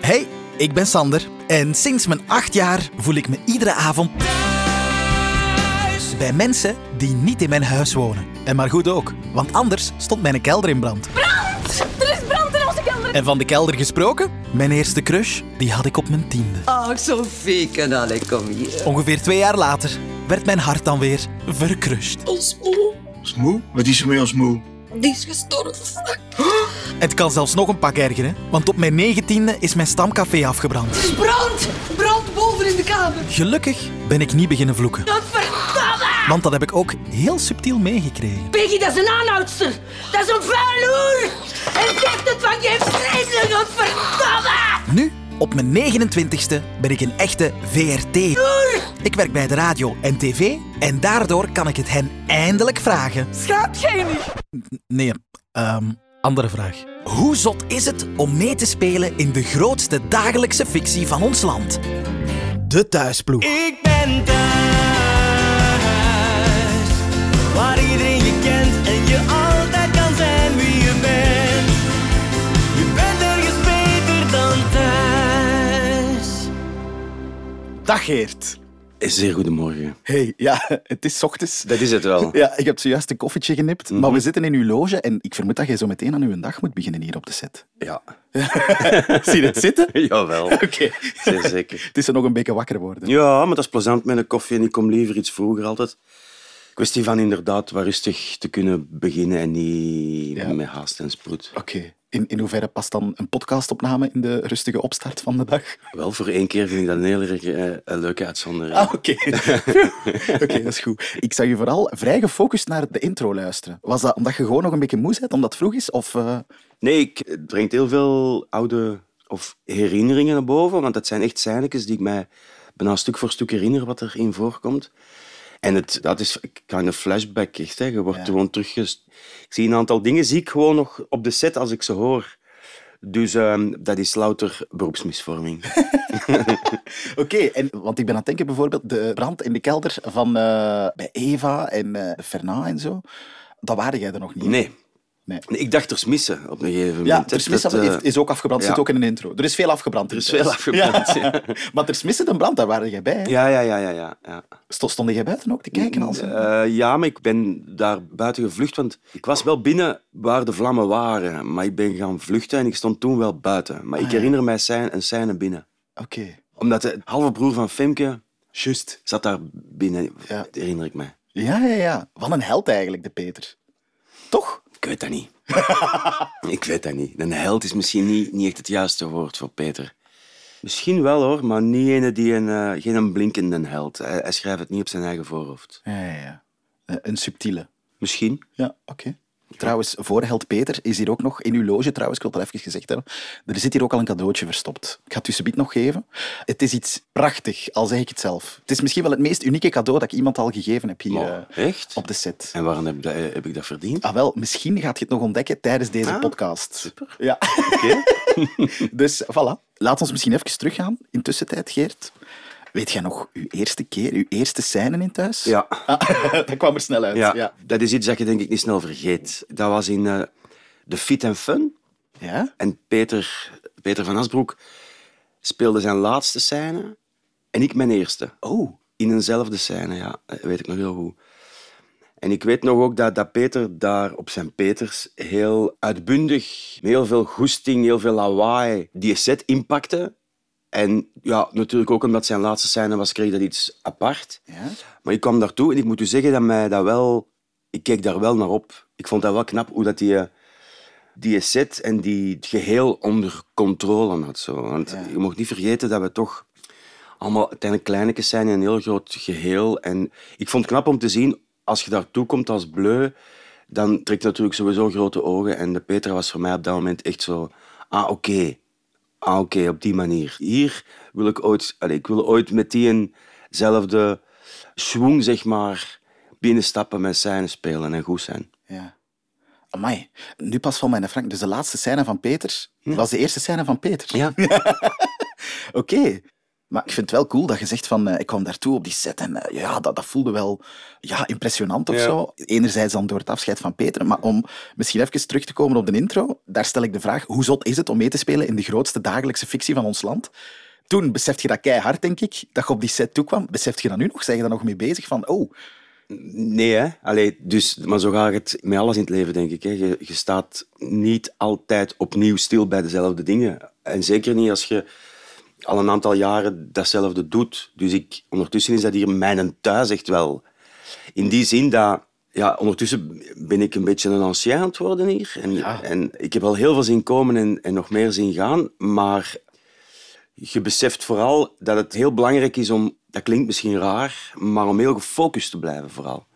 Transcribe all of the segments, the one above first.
Hey, ik ben Sander en sinds mijn acht jaar voel ik me iedere avond bij mensen die niet in mijn huis wonen. En maar goed ook, want anders stond mijn kelder in brand. Er is brand in onze kelder. En van de kelder gesproken, mijn eerste crush, die had ik op mijn tiende. Ach, Sophie, kanale, kom hier. Ongeveer twee jaar later werd mijn hart dan weer verkrust. Ons moe. Ons moe? Wat is er met ons moe? Die is gestorven. Het kan zelfs nog een pak ergeren, want op mijn negentiende is mijn stamcafé afgebrand. Brand! Brand boven in de kamer. Gelukkig ben ik niet beginnen vloeken, Dat verdomme. want dat heb ik ook heel subtiel meegekregen. Peggy, dat is een aanhoudster. Dat is een vuiloer. En geeft het van je vreselijk. Dat verdomme. Nu, op mijn 29ste, ben ik een echte VRT. Ik werk bij de radio en tv en daardoor kan ik het hen eindelijk vragen. Schaamt jij niet? Nee, ehm, andere vraag. Hoe zot is het om mee te spelen in de grootste dagelijkse fictie van ons land? De thuisploeg. Ik ben thuis, waar iedereen je kent en je altijd kan zijn wie je bent. Je bent ergens beter dan thuis. Dag Geert. Zeer goedemorgen. Hey, ja, het is 's ochtends. Dat is het wel. Ja, ik heb zojuist een koffietje genipt, maar we zitten in uw loge en ik vermoed dat jij zo meteen aan uw dag moet beginnen hier op de set. Ja. Zie je het zitten? Jawel. Oké. Zeer zeker. Het is er nog een beetje wakker worden. Ja, maar dat is plezant met een koffie en ik kom liever iets vroeger altijd. Kwestie van inderdaad wat rustig te kunnen beginnen en niet Ja. met haast en spoed. Oké. In, in hoeverre past dan een podcastopname in de rustige opstart van de dag? Wel, voor één keer vind ik dat een heel erg eh, een leuke uitzondering. Ah, oké. oké, dat is goed. Ik zag je vooral vrij gefocust naar de intro luisteren. Was dat omdat je gewoon nog een beetje moe bent, omdat het vroeg is? Of, eh, Nee, ik, het brengt heel veel oude of herinneringen naar boven, want dat zijn echt scènetjes die ik mij bijna stuk voor stuk herinner wat erin voorkomt. En het, dat is kind of flashback, echt. Hè. Je wordt gewoon teruggest... Ik zie een aantal dingen, zie ik gewoon nog op de set als ik ze hoor. Dus ehm, dat is louter beroepsmisvorming. Oké, en, want ik ben aan het denken bijvoorbeeld de brand in de kelder van eh, bij Eva en eh Ferna en zo. Dat waren jij er nog niet. Nee. Nee. Ik dacht er smissen op een gegeven moment. Ja, hè. Ter Smissen Dat, eh, heeft- is ook afgebrand. ja. zit ook in een intro. Er is veel afgebrand. Er is in het veel huis. afgebrand, maar Ter Smissen een brand, daar waren jij bij. hè? Ja, ja, ja, ja, ja. ja. Sto- Stond jij buiten ook te kijken? Als... Eh, ja, maar ik ben daar buiten gevlucht, want ik was wel binnen waar de vlammen waren. Maar ik ben gaan vluchten en ik stond toen wel buiten. Ah, Maar ik herinner mij scène, een scène binnen. Oké. Omdat de halve broer van Femke Juist. zat daar binnen, Ja. dat herinner ik mij. Ja, ja, ja. Wat een held eigenlijk, de Peter. Toch? Ik weet dat niet. ik weet dat niet. Een held is misschien niet, niet echt het juiste woord voor Peter. Misschien wel hoor, maar niet ene die een, eh, geen een blinkende held. Hij, hij schrijft het niet op zijn eigen voorhoofd. Ja, ja, ja. Eh, Een subtiele. Misschien. Ja, oké. Trouwens, voor Held Peter is hier ook nog in uw loge, trouwens, ik wil het al even gezegd hebben, er zit hier ook al een cadeautje verstopt. Ik ga het u subiet nog geven. Het is iets prachtig, al zeg ik het zelf. Het is misschien wel het meest unieke cadeau dat ik iemand al gegeven heb hier Maar, eh, echt? op de set. En waarom heb, ik dat- heb ik dat verdiend? Ah wel, misschien gaat je het nog ontdekken tijdens deze Ah, podcast. Super. Ja. dus voilà. Laat ons misschien even teruggaan. Intussen tijd, Geert. Weet jij nog uw eerste keer, uw eerste scène in thuis? Ja. Ah, dat kwam er snel uit. Ja, Ja. dat is iets dat je denk ik niet snel vergeet. Dat was in eh, de Fit and Fun. ja? En Peter, Peter van Asbroek speelde zijn laatste scène en ik mijn eerste. Oh. In eenzelfde scène, ja. Dat weet ik nog heel goed. En ik weet nog ook dat, dat Peter daar op zijn Peters heel uitbundig, met heel veel goesting, heel veel lawaai, die set inpakte. En ja, natuurlijk ook omdat zijn laatste scène was, kreeg dat iets apart. Ja? Maar ik kwam daartoe en ik moet u zeggen dat mij dat wel... Ik keek daar wel naar op. Ik vond dat wel knap hoe dat die, eh, die set en die het geheel onder controle had. Zo. Want je mocht niet vergeten dat we toch allemaal uiteindelijk kleinetjes zijn in een heel groot geheel. En ik vond het knap om te zien, als je daartoe komt als bleu, dan trekt het natuurlijk sowieso grote ogen. En de Peter was voor mij op dat moment echt zo... Ah, oké. Ah, oké, op die manier. Hier wil ik ooit, allee, ik wil ooit met diezelfde schwung, zeg maar, binnenstappen met scènes spelen en goed zijn. Ja. Amai, nu pas van mijn Frank. Dus de laatste scène van Peter was de eerste scène van Peter. Ja. Oké. Maar ik vind het wel cool dat je zegt van, eh, ik kwam daartoe op die set en eh, ja, dat, dat voelde wel ja, impressionant of Ja. zo. Enerzijds dan door het afscheid van Peter, maar om misschien even terug te komen op de intro, daar stel ik de vraag, hoe zot is het om mee te spelen in de grootste dagelijkse fictie van ons land? Toen besef je dat keihard, denk ik, dat je op die set toekwam. Besef je dat nu nog? Zijn je daar nog mee bezig? Van, oh, Nee, hè? Allee, dus, maar zo gaat het met alles in het leven, denk ik. Hè? Je, je staat niet altijd opnieuw stil bij dezelfde dingen. En zeker niet als je al een aantal jaren datzelfde doet. Dus ik, ondertussen is dat hier mijn thuis echt wel. In die zin dat... Ja, ondertussen ben ik een beetje een ancien aan het worden hier. En, en ik heb al heel veel zien komen en, en nog meer zien gaan. Maar je beseft vooral dat het heel belangrijk is om... Dat klinkt misschien raar, maar om heel gefocust te blijven vooral.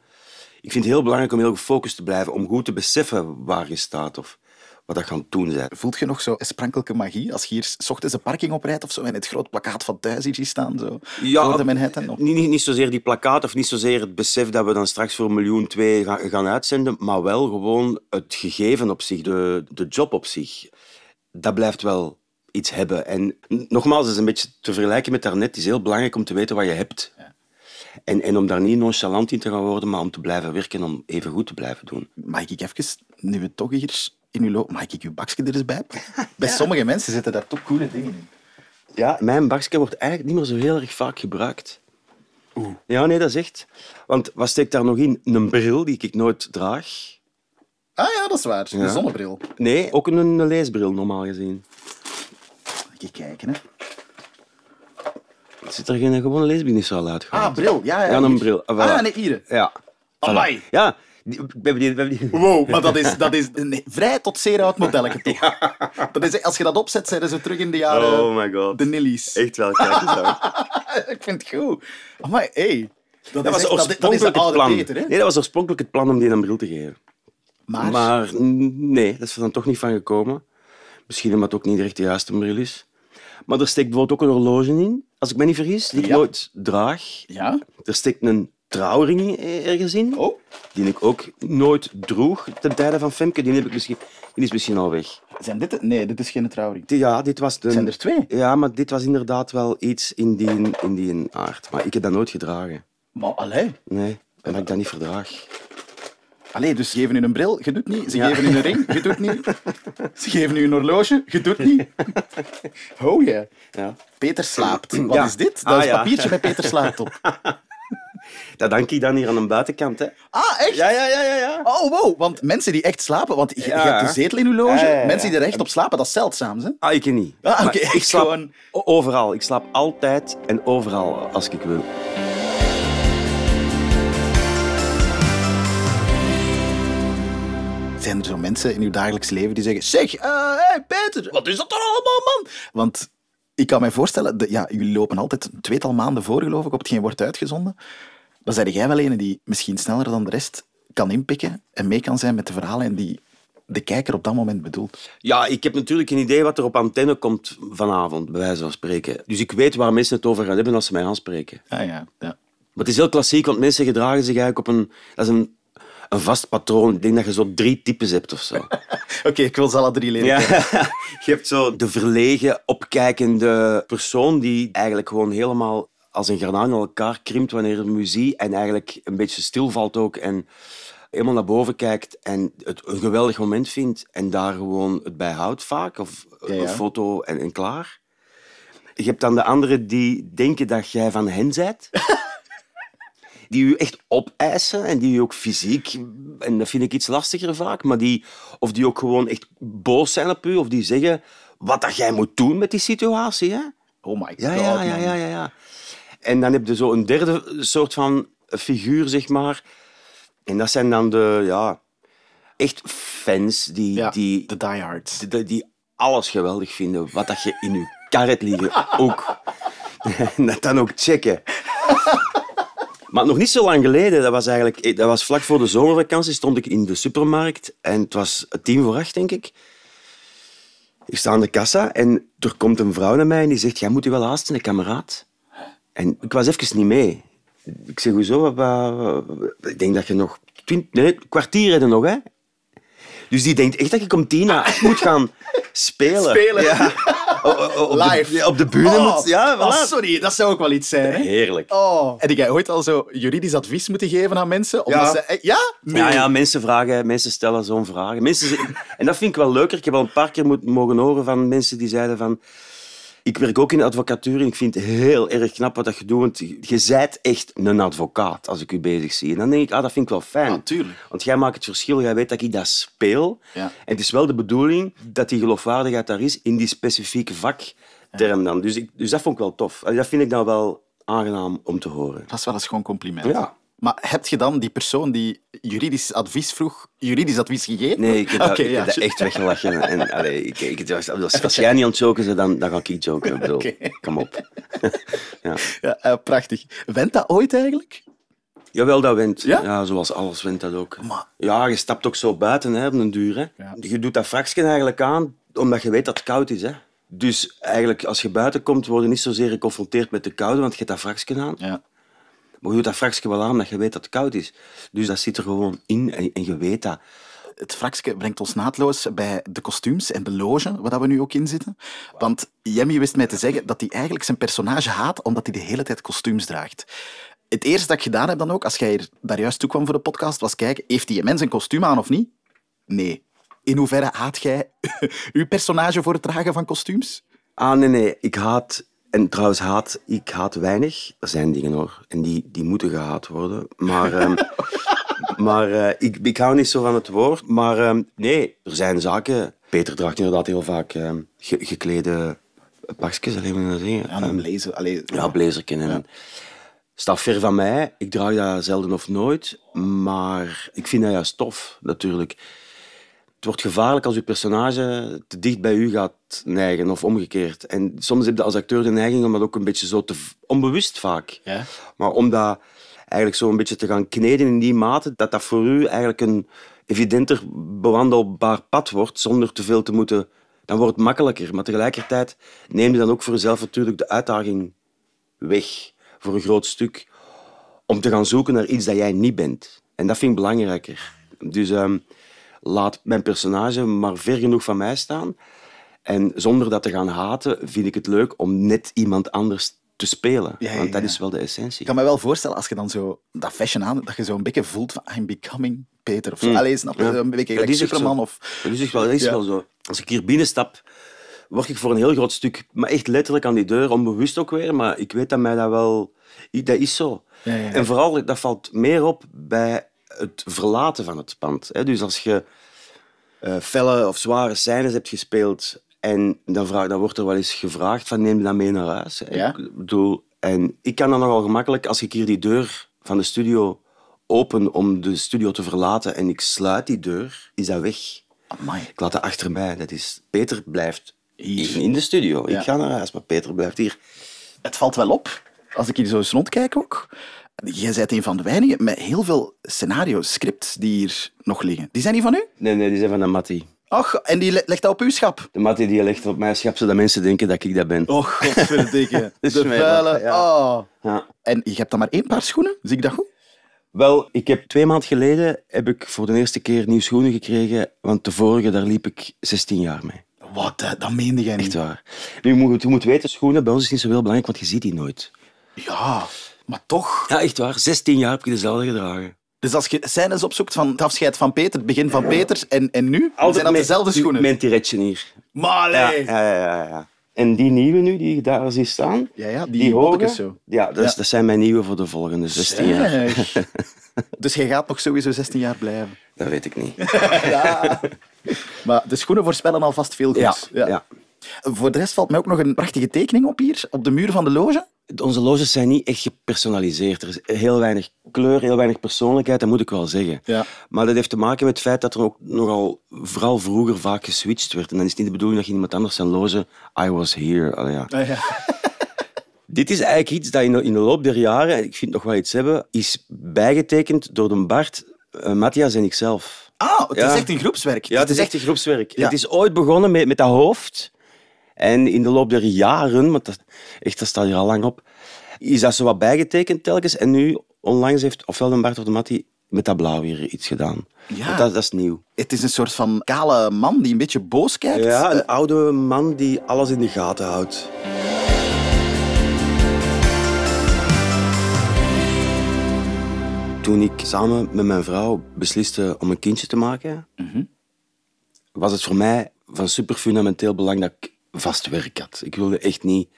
Ik vind het heel belangrijk om heel gefocust te blijven. Om goed te beseffen waar je staat of wat dat gaan doen zijn. voelt je nog zo een sprankelke magie als je hier s ochtends een parking oprijdt of zo en het groot plakkaat van thuis hier ziet staan, zo, voor de Manhattan? Of- eh, Niet, niet, niet zozeer die plakkaat of niet zozeer het besef dat we dan straks voor een miljoen twee gaan, gaan uitzenden, maar wel gewoon het gegeven op zich, de, de job op zich. Dat blijft wel iets hebben. En n- nogmaals, dat is een beetje te vergelijken met daarnet. Het is heel belangrijk om te weten wat je hebt. En, en om daar niet nonchalant in te gaan worden, maar om te blijven werken, om even goed te blijven doen. Mag ik even, nu we toch hier in uw loop, mag ik uw bakje er eens bij pakken? Bij sommige mensen zitten daar toch coole dingen in. Ja, mijn bakje wordt eigenlijk niet meer zo heel erg vaak gebruikt. Oeh. Ja, nee, dat is echt. Want wat steekt daar nog in? Een bril die ik nooit draag. Ah ja, dat is waar. Een Ja. zonnebril. Nee, ook een leesbril normaal gezien. Even kijken, hè. Zit er geen gewone leesbril uit? Ah, bril. Ja, ja, Ja, een hier. bril. Ah, voilà. Ah, nee, hier. Ja. Amai. Voilà. Ja. die- we hebben die- we hebben die- Wow, maar dat is, dat is een vrij tot zeer oud modelletje, toch? Dat is, als je dat opzet, zijn ze terug in de jaren... Oh my god. De Nillies. Echt wel, kijk eens aan. Ik vind het goed. Amai, hey. Dat, Dat is was echt- dat- dat is de oorspronkelijk het oude plan. Peter, hè? Nee, dat was oorspronkelijk het plan om die een bril te geven. Maar, Maar n- nee, dat is er dan toch niet van gekomen. Misschien omdat het ook niet echt de juiste bril is. Maar er steekt bijvoorbeeld ook een horloge in, als ik me niet vergis, die ik Ja. nooit draag. Ja? Er steekt een trouwring eh, ergens in. Oh. Die ik ook nooit droeg ten tijde van Femke. Die, heb ik misschien, die is misschien al weg. Zijn dit... de- Nee, dit is geen trouwring. Die- Ja, dit was de... Zijn er twee? Ja, maar dit was inderdaad wel iets in die, in die aard. Maar ik heb dat nooit gedragen. Maar, allee. Nee, omdat ik dat niet verdraag. Allee, dus ze geven u een bril, je doet niet. Ze geven u een ring, je doet niet. Ze geven u een horloge, je doet niet. Oh ja. Ja. Peter slaapt. Wat Ja. is dit? Dat Ah, is het ja. papiertje met Peter slaapt op. Dat dank ik dan hier aan de buitenkant, hè. Ah, echt? Ja, ja, ja, ja. ja. Oh, wow. Want mensen die echt slapen, want je, je Ja. hebt een zetel in uw loge. Ja, ja, ja. Mensen die er echt op slapen, dat is zeldzaam. Hè? Ah, ik niet. Ah, oké, Maar ik ik slaap gewoon- o- overal. Ik slaap altijd en overal als ik wil. Zijn er zo mensen in uw dagelijks leven die zeggen: Zeg, eh, hey Peter, wat is dat er allemaal, man? Want ik kan mij voorstellen, de- ja, jullie lopen altijd een tweetal maanden voor, geloof ik, op hetgeen wordt uitgezonden. Dan zijn jij wel een die misschien sneller dan de rest kan inpikken en mee kan zijn met de verhalen en die de kijker op dat moment bedoelt. Ja, ik heb natuurlijk een idee wat er op antenne komt vanavond, bij wijze van spreken. Dus ik weet waar mensen het over gaan hebben als ze mij aanspreken. Ah ja, ja. Maar het is heel klassiek, want mensen gedragen zich eigenlijk op een... Dat is een, een vast patroon. Ik denk dat je zo drie types hebt of zo. Oké, ik wil ze alle drie leren. Ja. Je hebt zo de verlegen, opkijkende persoon die eigenlijk gewoon helemaal als een garnaal in elkaar krimpt wanneer er muziek en eigenlijk een beetje stilvalt ook en helemaal naar boven kijkt en het een geweldig moment vindt en daar gewoon het bij houdt vaak of ja. een foto en, en klaar. Je hebt dan de anderen die denken dat jij van hen bent. Die u echt opeisen en die u ook fysiek, en dat vind ik iets lastiger vaak, maar die, of die ook gewoon echt boos zijn op u, of die zeggen wat dat jij moet doen met die situatie. Hè? Oh my god. Ja, ja, ja, man. ja, ja, ja. En dan heb je zo een derde soort van figuur, zeg maar. En dat zijn dan de, ja, echt fans die, Ja, die, de diehards. die, die alles geweldig vinden. Wat dat je in je kar hebt liggen, ook. En dat dan ook checken. Maar nog niet zo lang geleden, dat was eigenlijk dat was vlak voor de zomervakantie, stond ik in de supermarkt en het was tien voor acht, denk ik. Ik sta aan de kassa en er komt een vrouw naar mij en die zegt, jij moet je wel haasten, hè, kameraad. En ik was even niet mee. Ik zeg, hoezo? Wat- wat- wat- Ik denk dat je nog twint, nee, een kwartier hebben nog, hè? Dus die denkt echt dat ik om tien na moet gaan spelen. Spelen. Ja. op Live. De, op de bühne Oh, moet... Ja, ah, voilà. sorry, dat zou ook wel iets zijn. Hè? Heerlijk. Oh. Heb jij ooit al zo juridisch advies moeten geven aan mensen? Omdat Ja. Ze, eh, ja? Nee. Ja, ja, mensen vragen, mensen stellen zo'n vragen. Mensen, ze- en dat vind ik wel leuker. Ik heb al een paar keer moet, mogen horen van mensen die zeiden van... Ik werk ook in de advocatuur en ik vind het heel erg knap wat dat je doet. Want je zijt echt een advocaat als ik u bezig zie. En dan denk ik, ah, dat vind ik wel fijn. Ah, tuurlijk. want jij maakt het verschil. Jij weet dat ik dat speel. Ja. En het is wel de bedoeling dat die geloofwaardigheid daar is in die specifieke vakterm dan. Dus, ik, dus dat vond ik wel tof. Allee, Dat vind ik dan wel aangenaam om te horen. Dat is wel eens gewoon een compliment. Ja. Maar heb je dan die persoon die juridisch advies vroeg, juridisch advies gegeven? Nee, ik heb dat, Oké, ik ja, heb dat echt weggelachen. En, allee, ik, ik, als, als jij niet aan het joken bent, dan, dan ga ik joken. Ik bedoel, kom op. ja, eh, prachtig. Went dat ooit eigenlijk? Jawel, dat wint. Ja? Ja? zoals alles wint dat ook. Maar- Ja, je stapt ook zo buiten hè, op een duur. Hè. Ja. Je doet dat vrachtje eigenlijk aan, omdat je weet dat het koud is. Hè. Dus eigenlijk, als je buiten komt, word je niet zozeer geconfronteerd met de koude, want je hebt dat vrachtje aan. Ja. Maar je doet dat vrachtje wel aan, omdat je weet dat het koud is. Dus dat zit er gewoon in en, en je weet dat. Het fraksje brengt ons naadloos bij de kostuums en de loge, waar dat we nu ook in zitten. Want Jemmy wist mij te zeggen dat hij eigenlijk zijn personage haat, omdat hij de hele tijd kostuums draagt. Het eerste dat ik gedaan heb dan ook, als jij hier daar juist toe kwam voor de podcast, was kijken, heeft die mens een kostuum aan of niet? Nee. In hoeverre haat jij uw personage voor het dragen van kostuums? Ah, nee, nee. Ik haat... En trouwens, haat, ik haat weinig. Er zijn dingen, hoor. En die, die moeten gehaat worden. Maar, ehm, maar eh, ik, ik hou niet zo van het woord. Maar ehm, nee, er zijn zaken... Peter draagt inderdaad heel vaak ehm, ge- geklede pakjes. Alleen maar dat zeggen. Ehm, Ja, een blazer. Allee, Ja, blazerken. En Staat ver van mij. Ik draag dat zelden of nooit. Maar ik vind dat juist tof, natuurlijk. Het wordt gevaarlijk als je personage te dicht bij u gaat neigen of omgekeerd. En soms heb je als acteur de neiging om dat ook een beetje zo te... v- Onbewust vaak. Ja. Maar om dat eigenlijk zo een beetje te gaan kneden in die mate, dat dat voor u eigenlijk een evidenter bewandelbaar pad wordt, zonder te veel te moeten... Dan wordt het makkelijker. Maar tegelijkertijd neem je dan ook voor jezelf natuurlijk de uitdaging weg voor een groot stuk om te gaan zoeken naar iets dat jij niet bent. En dat vind ik belangrijker. Dus ehm, laat mijn personage maar ver genoeg van mij staan. En zonder dat te gaan haten, vind ik het leuk om net iemand anders te spelen. Ja, ja, Want dat ja. is wel de essentie. Ik kan me wel voorstellen, als je dan zo dat fashion aan hebt, dat je zo een beetje voelt van I'm becoming Peter. Of zo. Allee, snap je? Hmm. Ja. Een beetje Dat gelijk is ook Superman. zo. Of... Dat is, echt wel, dat is Ja. wel zo. Als ik hier binnenstap, word ik voor een heel groot stuk, maar echt letterlijk aan die deur, onbewust ook weer, maar ik weet dat mij dat wel... i- Dat is zo. ja, ja. En vooral, dat valt meer op bij het verlaten van het pand. hè. Dus als je eh, felle of zware scènes hebt gespeeld en dan, vraag, dan wordt er wel eens gevraagd van neem je dat mee naar huis. hè. Ja. Ik bedoel, en ik kan dan nogal gemakkelijk, als ik hier die deur van de studio open om de studio te verlaten en ik sluit die deur, is dat weg. Amai. Ik laat dat achter mij. Dat is, Peter blijft Hier. hier in de studio. Ja. Ik ga naar huis, maar Peter blijft hier. Het valt wel op, als ik hier zo eens rondkijk ook. Jij bent een van de weinigen met heel veel scenario's, scripts die hier nog liggen. Die zijn die van u? Nee, nee, die zijn van de Matti. Ach, en die le- legt dat op uw schap. De Matti die legt op mij schap, zodat mensen denken dat ik dat ben. Och, Oh, godverdikke. de is mij vuile. lachen, ja. Oh. Ja. En je hebt dan maar één paar schoenen? Zie ik dat goed? Wel, ik heb twee maanden geleden heb ik voor de eerste keer nieuwe schoenen gekregen, want de vorige, daar liep ik 16 jaar mee. Wat, eh, dat meende jij Echt niet? waar. Nu, je moet, je moet weten, schoenen bij ons is niet zo heel belangrijk, want je ziet die nooit. Ja, maar toch. Ja, echt waar. 16 jaar heb ik dezelfde gedragen. Dus als je scènes opzoekt van het afscheid van Peter, het begin van Peter en, en nu, dan zijn dat met- dezelfde schoenen. Mijn tiretje hier. Maar Ja, allee. ja, ja, ja, ja. En die nieuwe nu, die ik daar zie staan, Ja, ja, die die, hoge, bottekes zo. Ja, dat, is- Ja. dat zijn mijn nieuwe voor de volgende 16 jaar. Zeg. dus jij gaat nog sowieso 16 jaar blijven. Dat weet ik niet. Maar de schoenen voorspellen alvast veel Ja, goeds. ja. Voor de rest valt mij ook nog een prachtige tekening op hier, op de muur van de loge. Onze loges zijn niet echt gepersonaliseerd. Er is heel weinig kleur, heel weinig persoonlijkheid, dat moet ik wel zeggen. Ja. Maar dat heeft te maken met het feit dat er ook nogal vooral vroeger vaak geswitcht werd. En dan is het niet de bedoeling dat je iemand anders zijn loge I was here. Allee, ja. Ah, Dit is eigenlijk iets dat in de, in de loop der jaren, en ik vind het nog wel iets hebben, is bijgetekend door de Bart, eh, Matthias en ikzelf. Ah, het Ja. is echt een groepswerk. Ja, het is echt een groepswerk. Ja. Het is ooit begonnen met, met dat hoofd. En in de loop der jaren, want dat, echt, dat staat hier al lang op, is dat zo wat bijgetekend telkens. En nu, onlangs heeft ofwel de Bart of de Matti met dat blauw hier iets gedaan. Ja. Want Dat, dat is nieuw. Het is een soort van kale man die een beetje boos kijkt. Eh, Ja, een oude man die alles in de gaten houdt. Toen ik samen met mijn vrouw besliste om een kindje te maken, was het voor mij van super fundamenteel belang dat ik vast werk had. Ik wilde echt niet.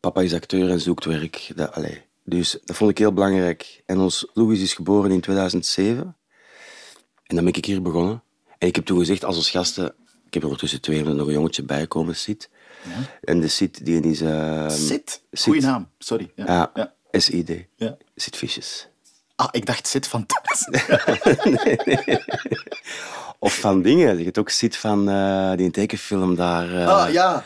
Papa is acteur en zoekt werk. Dat, allee. Dus dat vond ik heel belangrijk. En ons Louis is geboren in 2007. En dan ben ik hier begonnen. En ik heb toen gezegd als ons gasten... Ik heb er ondertussen twee, omdat er nog een jongetje bij komen, Sid. En de Sid, die is... eh, ah, Zit. Sid. Goeie naam, sorry. Ja. Ja, Ja. S-I-D. Ja. Sid Visjes. Ah, ik dacht zit van thuis. Of van dingen. Je hebt ook Sid van eh, die tekenfilm daar... eh, Ah, ja.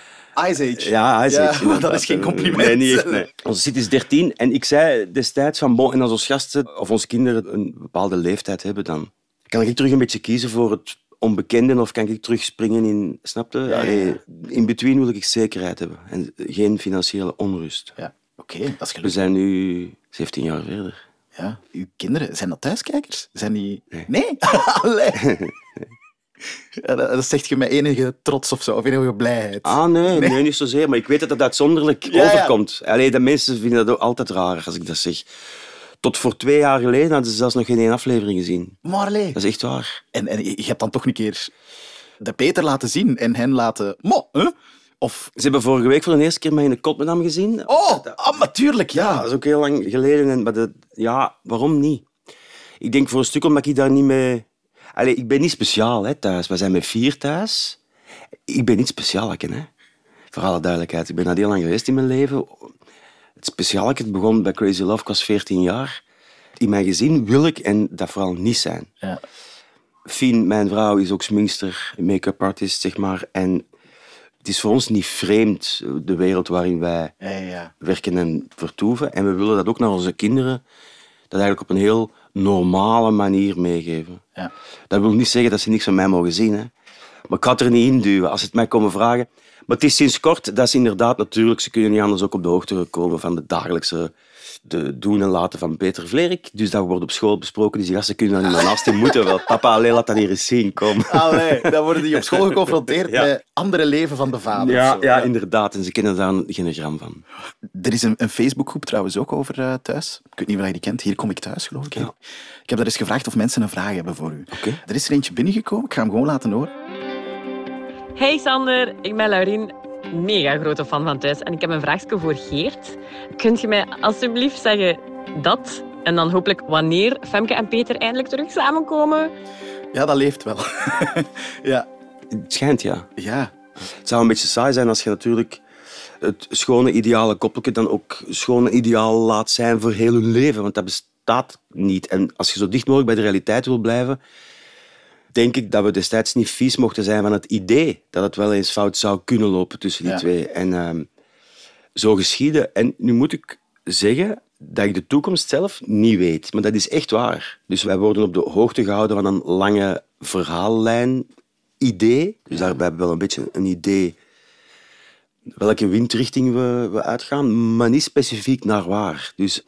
Ice Age. Ja, hij zegt, maar dat inderdaad. is geen compliment. Nee, niet echt, nee. Onze zit is 13 en ik zei destijds van, bon, en als onze gasten of onze kinderen een bepaalde leeftijd hebben, dan kan ik terug een beetje kiezen voor het onbekende of kan ik terugspringen in, snapte? In between wil ik zekerheid hebben en geen financiële onrust. Ja. Oké, dat is We gelukt. zijn nu 17 jaar verder. Ja. Uw kinderen, zijn dat thuiskijkers? Zijn die... Nee. Nee? Allee. Ja, dat, dat zegt je met enige trots of zo, of enige blijheid. Ah, nee, nee, niet zozeer. Maar ik weet dat dat uitzonderlijk Ja, ja. overkomt. Allee, de mensen vinden dat ook altijd raar als ik dat zeg. Tot voor twee jaar geleden hadden ze zelfs nog geen één aflevering gezien. Maar allee. Dat is echt waar. En, en je je hebt dan toch een keer de Peter laten zien en hen laten... Mo, hè? Of... Ze hebben vorige week voor de eerste keer mij in de kot met hem gezien. Oh, ah, natuurlijk, Ja, ja. dat is ook heel lang geleden. En, maar dat, ja, waarom niet? Ik denk voor een stuk omdat ik daar niet mee... Allee, ik ben niet speciaal hè, thuis. We zijn met vier thuis. Ik ben niet speciaal, hè. Voor alle duidelijkheid. Ik ben dat heel lang geweest in mijn leven. Het speciaal, het begon bij Crazy Love, ik was 14 jaar. In mijn gezin wil ik en dat vooral niet zijn. Ja. Fien, mijn vrouw, is ook sminkster, make-up artist, zeg maar. En het is voor ons niet vreemd, de wereld waarin wij Ja, ja, ja. werken en vertoeven. En we willen dat ook naar onze kinderen, dat eigenlijk op een heel normale manier meegeven. Ja. Dat wil niet zeggen dat ze niks van mij mogen zien. Hè. Maar ik ga het er niet in duwen als ze het mij komen vragen. Maar het is sinds kort, dat is inderdaad natuurlijk, ze kunnen niet anders ook op de hoogte komen van de dagelijkse de doen en laten van Peter Vlerik. Dus dat wordt op school besproken, dus die gasten kunnen daar niet meer naast. Die moeten wel. Papa, alleen laat dat hier eens zien, kom. Allee, dan worden die op school geconfronteerd Ja. met andere leven van de vader. of Ja, zo. ja, inderdaad. En ze kennen daar geen gram van. Er is een, een Facebookgroep trouwens ook over eh, thuis. Ik weet niet of je die kent. Hier kom ik thuis, geloof ik. hè? Ik heb daar eens gevraagd of mensen een vraag hebben voor u. Oké. Er is er eentje binnengekomen. Ik ga hem gewoon laten horen. Hey Sander, ik ben Laurien, mega grote fan van Thuis. En ik heb een vraagje voor Geert. Kunt je mij alsjeblieft zeggen dat... En dan hopelijk wanneer Femke en Peter eindelijk terug samenkomen. Ja, dat leeft wel. ja. Het schijnt, ja. ja. Het zou een beetje saai zijn als je natuurlijk het schone ideale koppeltje dan ook schone ideaal laat zijn voor heel hun leven. Want dat bestaat niet. En als je zo dicht mogelijk bij de realiteit wil blijven, denk ik dat we destijds niet vies mochten zijn van het idee dat het wel eens fout zou kunnen lopen tussen die Ja. twee. En ehm, zo geschieden. En nu moet ik zeggen dat ik de toekomst zelf niet weet. Maar dat is echt waar. Dus wij worden op de hoogte gehouden van een lange verhaallijn idee. Dus daarbij hebben we wel een beetje een idee welke windrichting we, we uitgaan, maar niet specifiek naar waar. Dus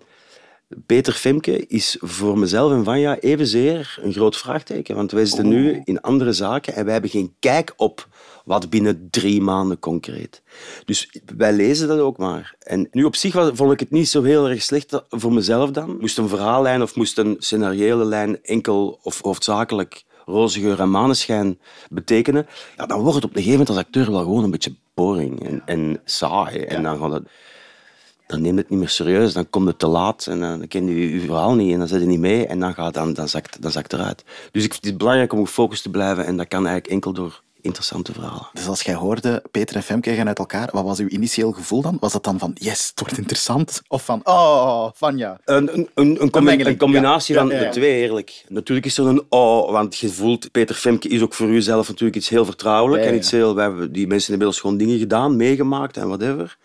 Peter Femke is voor mezelf en Vanja evenzeer een groot vraagteken. Want wij zitten nu in andere zaken en wij hebben geen kijk op wat binnen drie maanden concreet. Dus wij lezen dat ook maar. En nu op zich was- vond ik het niet zo heel erg slecht dat- voor mezelf dan. Moest een verhaallijn of moest een scenariële lijn enkel of hoofdzakelijk roze geur en maneschijn betekenen, ja, dan wordt het op een gegeven moment als acteur wel gewoon een beetje boring en, en saai. En dan gaat het dan neemt het niet meer serieus, dan komt het te laat en dan ken je je verhaal niet en dan zit je niet mee en dan, gaat, dan, dan, zakt, dan zakt het eruit. Dus ik, het is belangrijk om gefocust te blijven en dat kan eigenlijk enkel door interessante verhalen. Dus als jij hoorde, Peter en Femke gaan uit elkaar, wat was uw initieel gevoel dan? Was dat dan van, yes, het wordt interessant? Of van, oh, Vanja. Een, een, een, een, combi- mengeling, een combinatie ja. van Ja, ja, ja. de twee, eerlijk. Natuurlijk is er een oh, want je voelt, Peter Femke is ook voor jezelf natuurlijk iets heel vertrouwelijk. Ja, ja, En ja. iets heel, we hebben die mensen hebben inmiddels gewoon dingen gedaan, meegemaakt en whatever.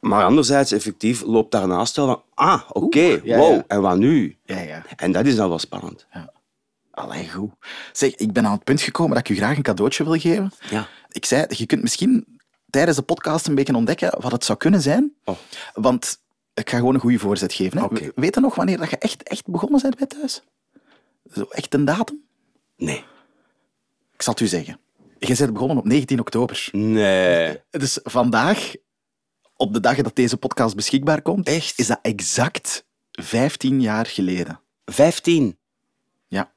Maar anderzijds, effectief, loopt daarnaast wel van, ah, oké, ja, wow, ja. en wat nu? Ja, ja. En dat is dan wel spannend. Allee, goed. Zeg, ik ben aan het punt gekomen dat ik u graag een cadeautje wil geven. Ja. Ik zei, je kunt misschien tijdens de podcast een beetje ontdekken wat het zou kunnen zijn. Oh. Want Ik ga gewoon een goede voorzet geven. Hè. Oké. Weet je nog wanneer dat je echt, echt begonnen bent bij thuis? Zo echt een datum? Nee. Ik zal het u zeggen. Je bent begonnen op 19 oktober. Nee. Dus vandaag, op de dag dat deze podcast beschikbaar komt, Echt? is dat exact 15 jaar geleden. Vijftien. Ja.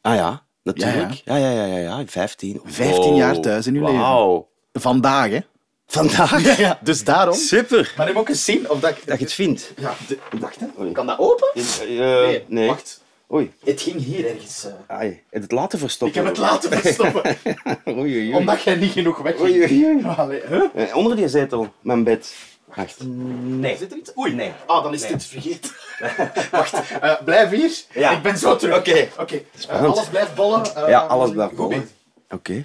Ah ja, natuurlijk. Ja, ja, ja, ja, ja. Vijftien. 15 jaar thuis in uw leven. Wauw. Vandaag, hè? Vandaag. Dus daarom. Super. Maar heb ook eens zien of dat ik. Dat je het vindt. Ja, de- wacht, hè. Kan dat open? Eh, eh, nee. Wacht. Oei. Het ging hier ergens. eh. Ai, heb je het laten Ik verstoppen? heb het laten verstoppen, Oei, oei, oei. omdat jij niet genoeg weg Oei, oei, oei. Allee, hè? Eh, onder die zetel, mijn bed. Wacht. Nee. Zit er iets? Oei. Nee. Ah, dan is dit vergeten. Wacht, eh, blijf hier. Ja. Ik ben zo terug. Oké. Oké. Eh, alles blijft bollen. Eh, Ja, alles blijft goed. bollen. Oké.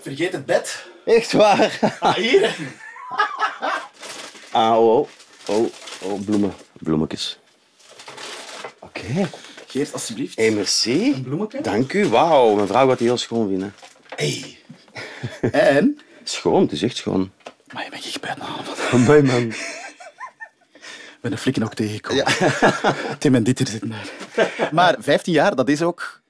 Vergeet het bed. Echt waar? Ah, hier. hè. Ah, oh, oh. Oh, oh, bloemen. Bloemetjes. Oké. Geert, alsjeblieft. Hey, merci. bloemetje? Dank u. Wauw, mijn vrouw gaat die heel schoon vinden. Hey. En? Schoon, het is echt schoon. Maar je bent echt bijna Amai, man. Ik ben een flikken ook tegengekomen. Tim en Dieter zitten daar. Maar 15 jaar, dat is ook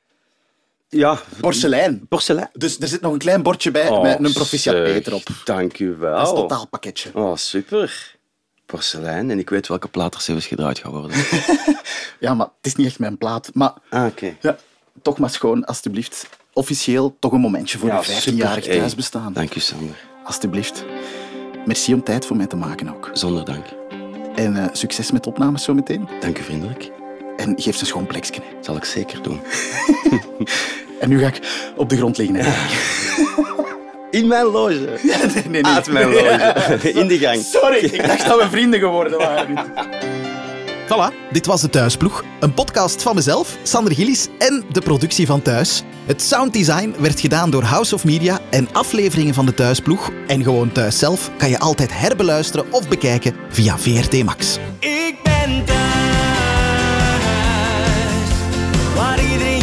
Ja, porselein. porselein. Dus er zit nog een klein bordje bij met een proficiat Oh, zeg, Peter op. Dank u wel. Dat is een totaalpakketje. Oh, super. Porselein. En ik weet welke plaatrecevers gedraaid gaan worden. Ja, maar het is niet echt mijn plaat. Maar Ah, oké. ja, toch maar schoon, alstublieft. Officieel toch een momentje voor Ja, een 15-jarig super. thuisbestaan. Dank u, Sander. Alstublieft. Merci om tijd voor mij te maken ook. Zonder dank. En eh, succes met opnames zometeen. Dank u vriendelijk. En geef ze een schoon plekje. hè. Zal ik zeker doen. En nu ga ik op de grond liggen. hè. In mijn loge. nee, nee, nee. Uit mijn loge. In de gang. Sorry, ik dacht dat we vrienden geworden waren. Voilà, dit was de Thuisploeg. Een podcast van mezelf, Sander Gillis en de productie van Thuis. Het sounddesign werd gedaan door House of Media en afleveringen van de Thuisploeg en gewoon Thuis zelf kan je altijd herbeluisteren of bekijken via VRT Max. Ik ben thuis, waar iedereen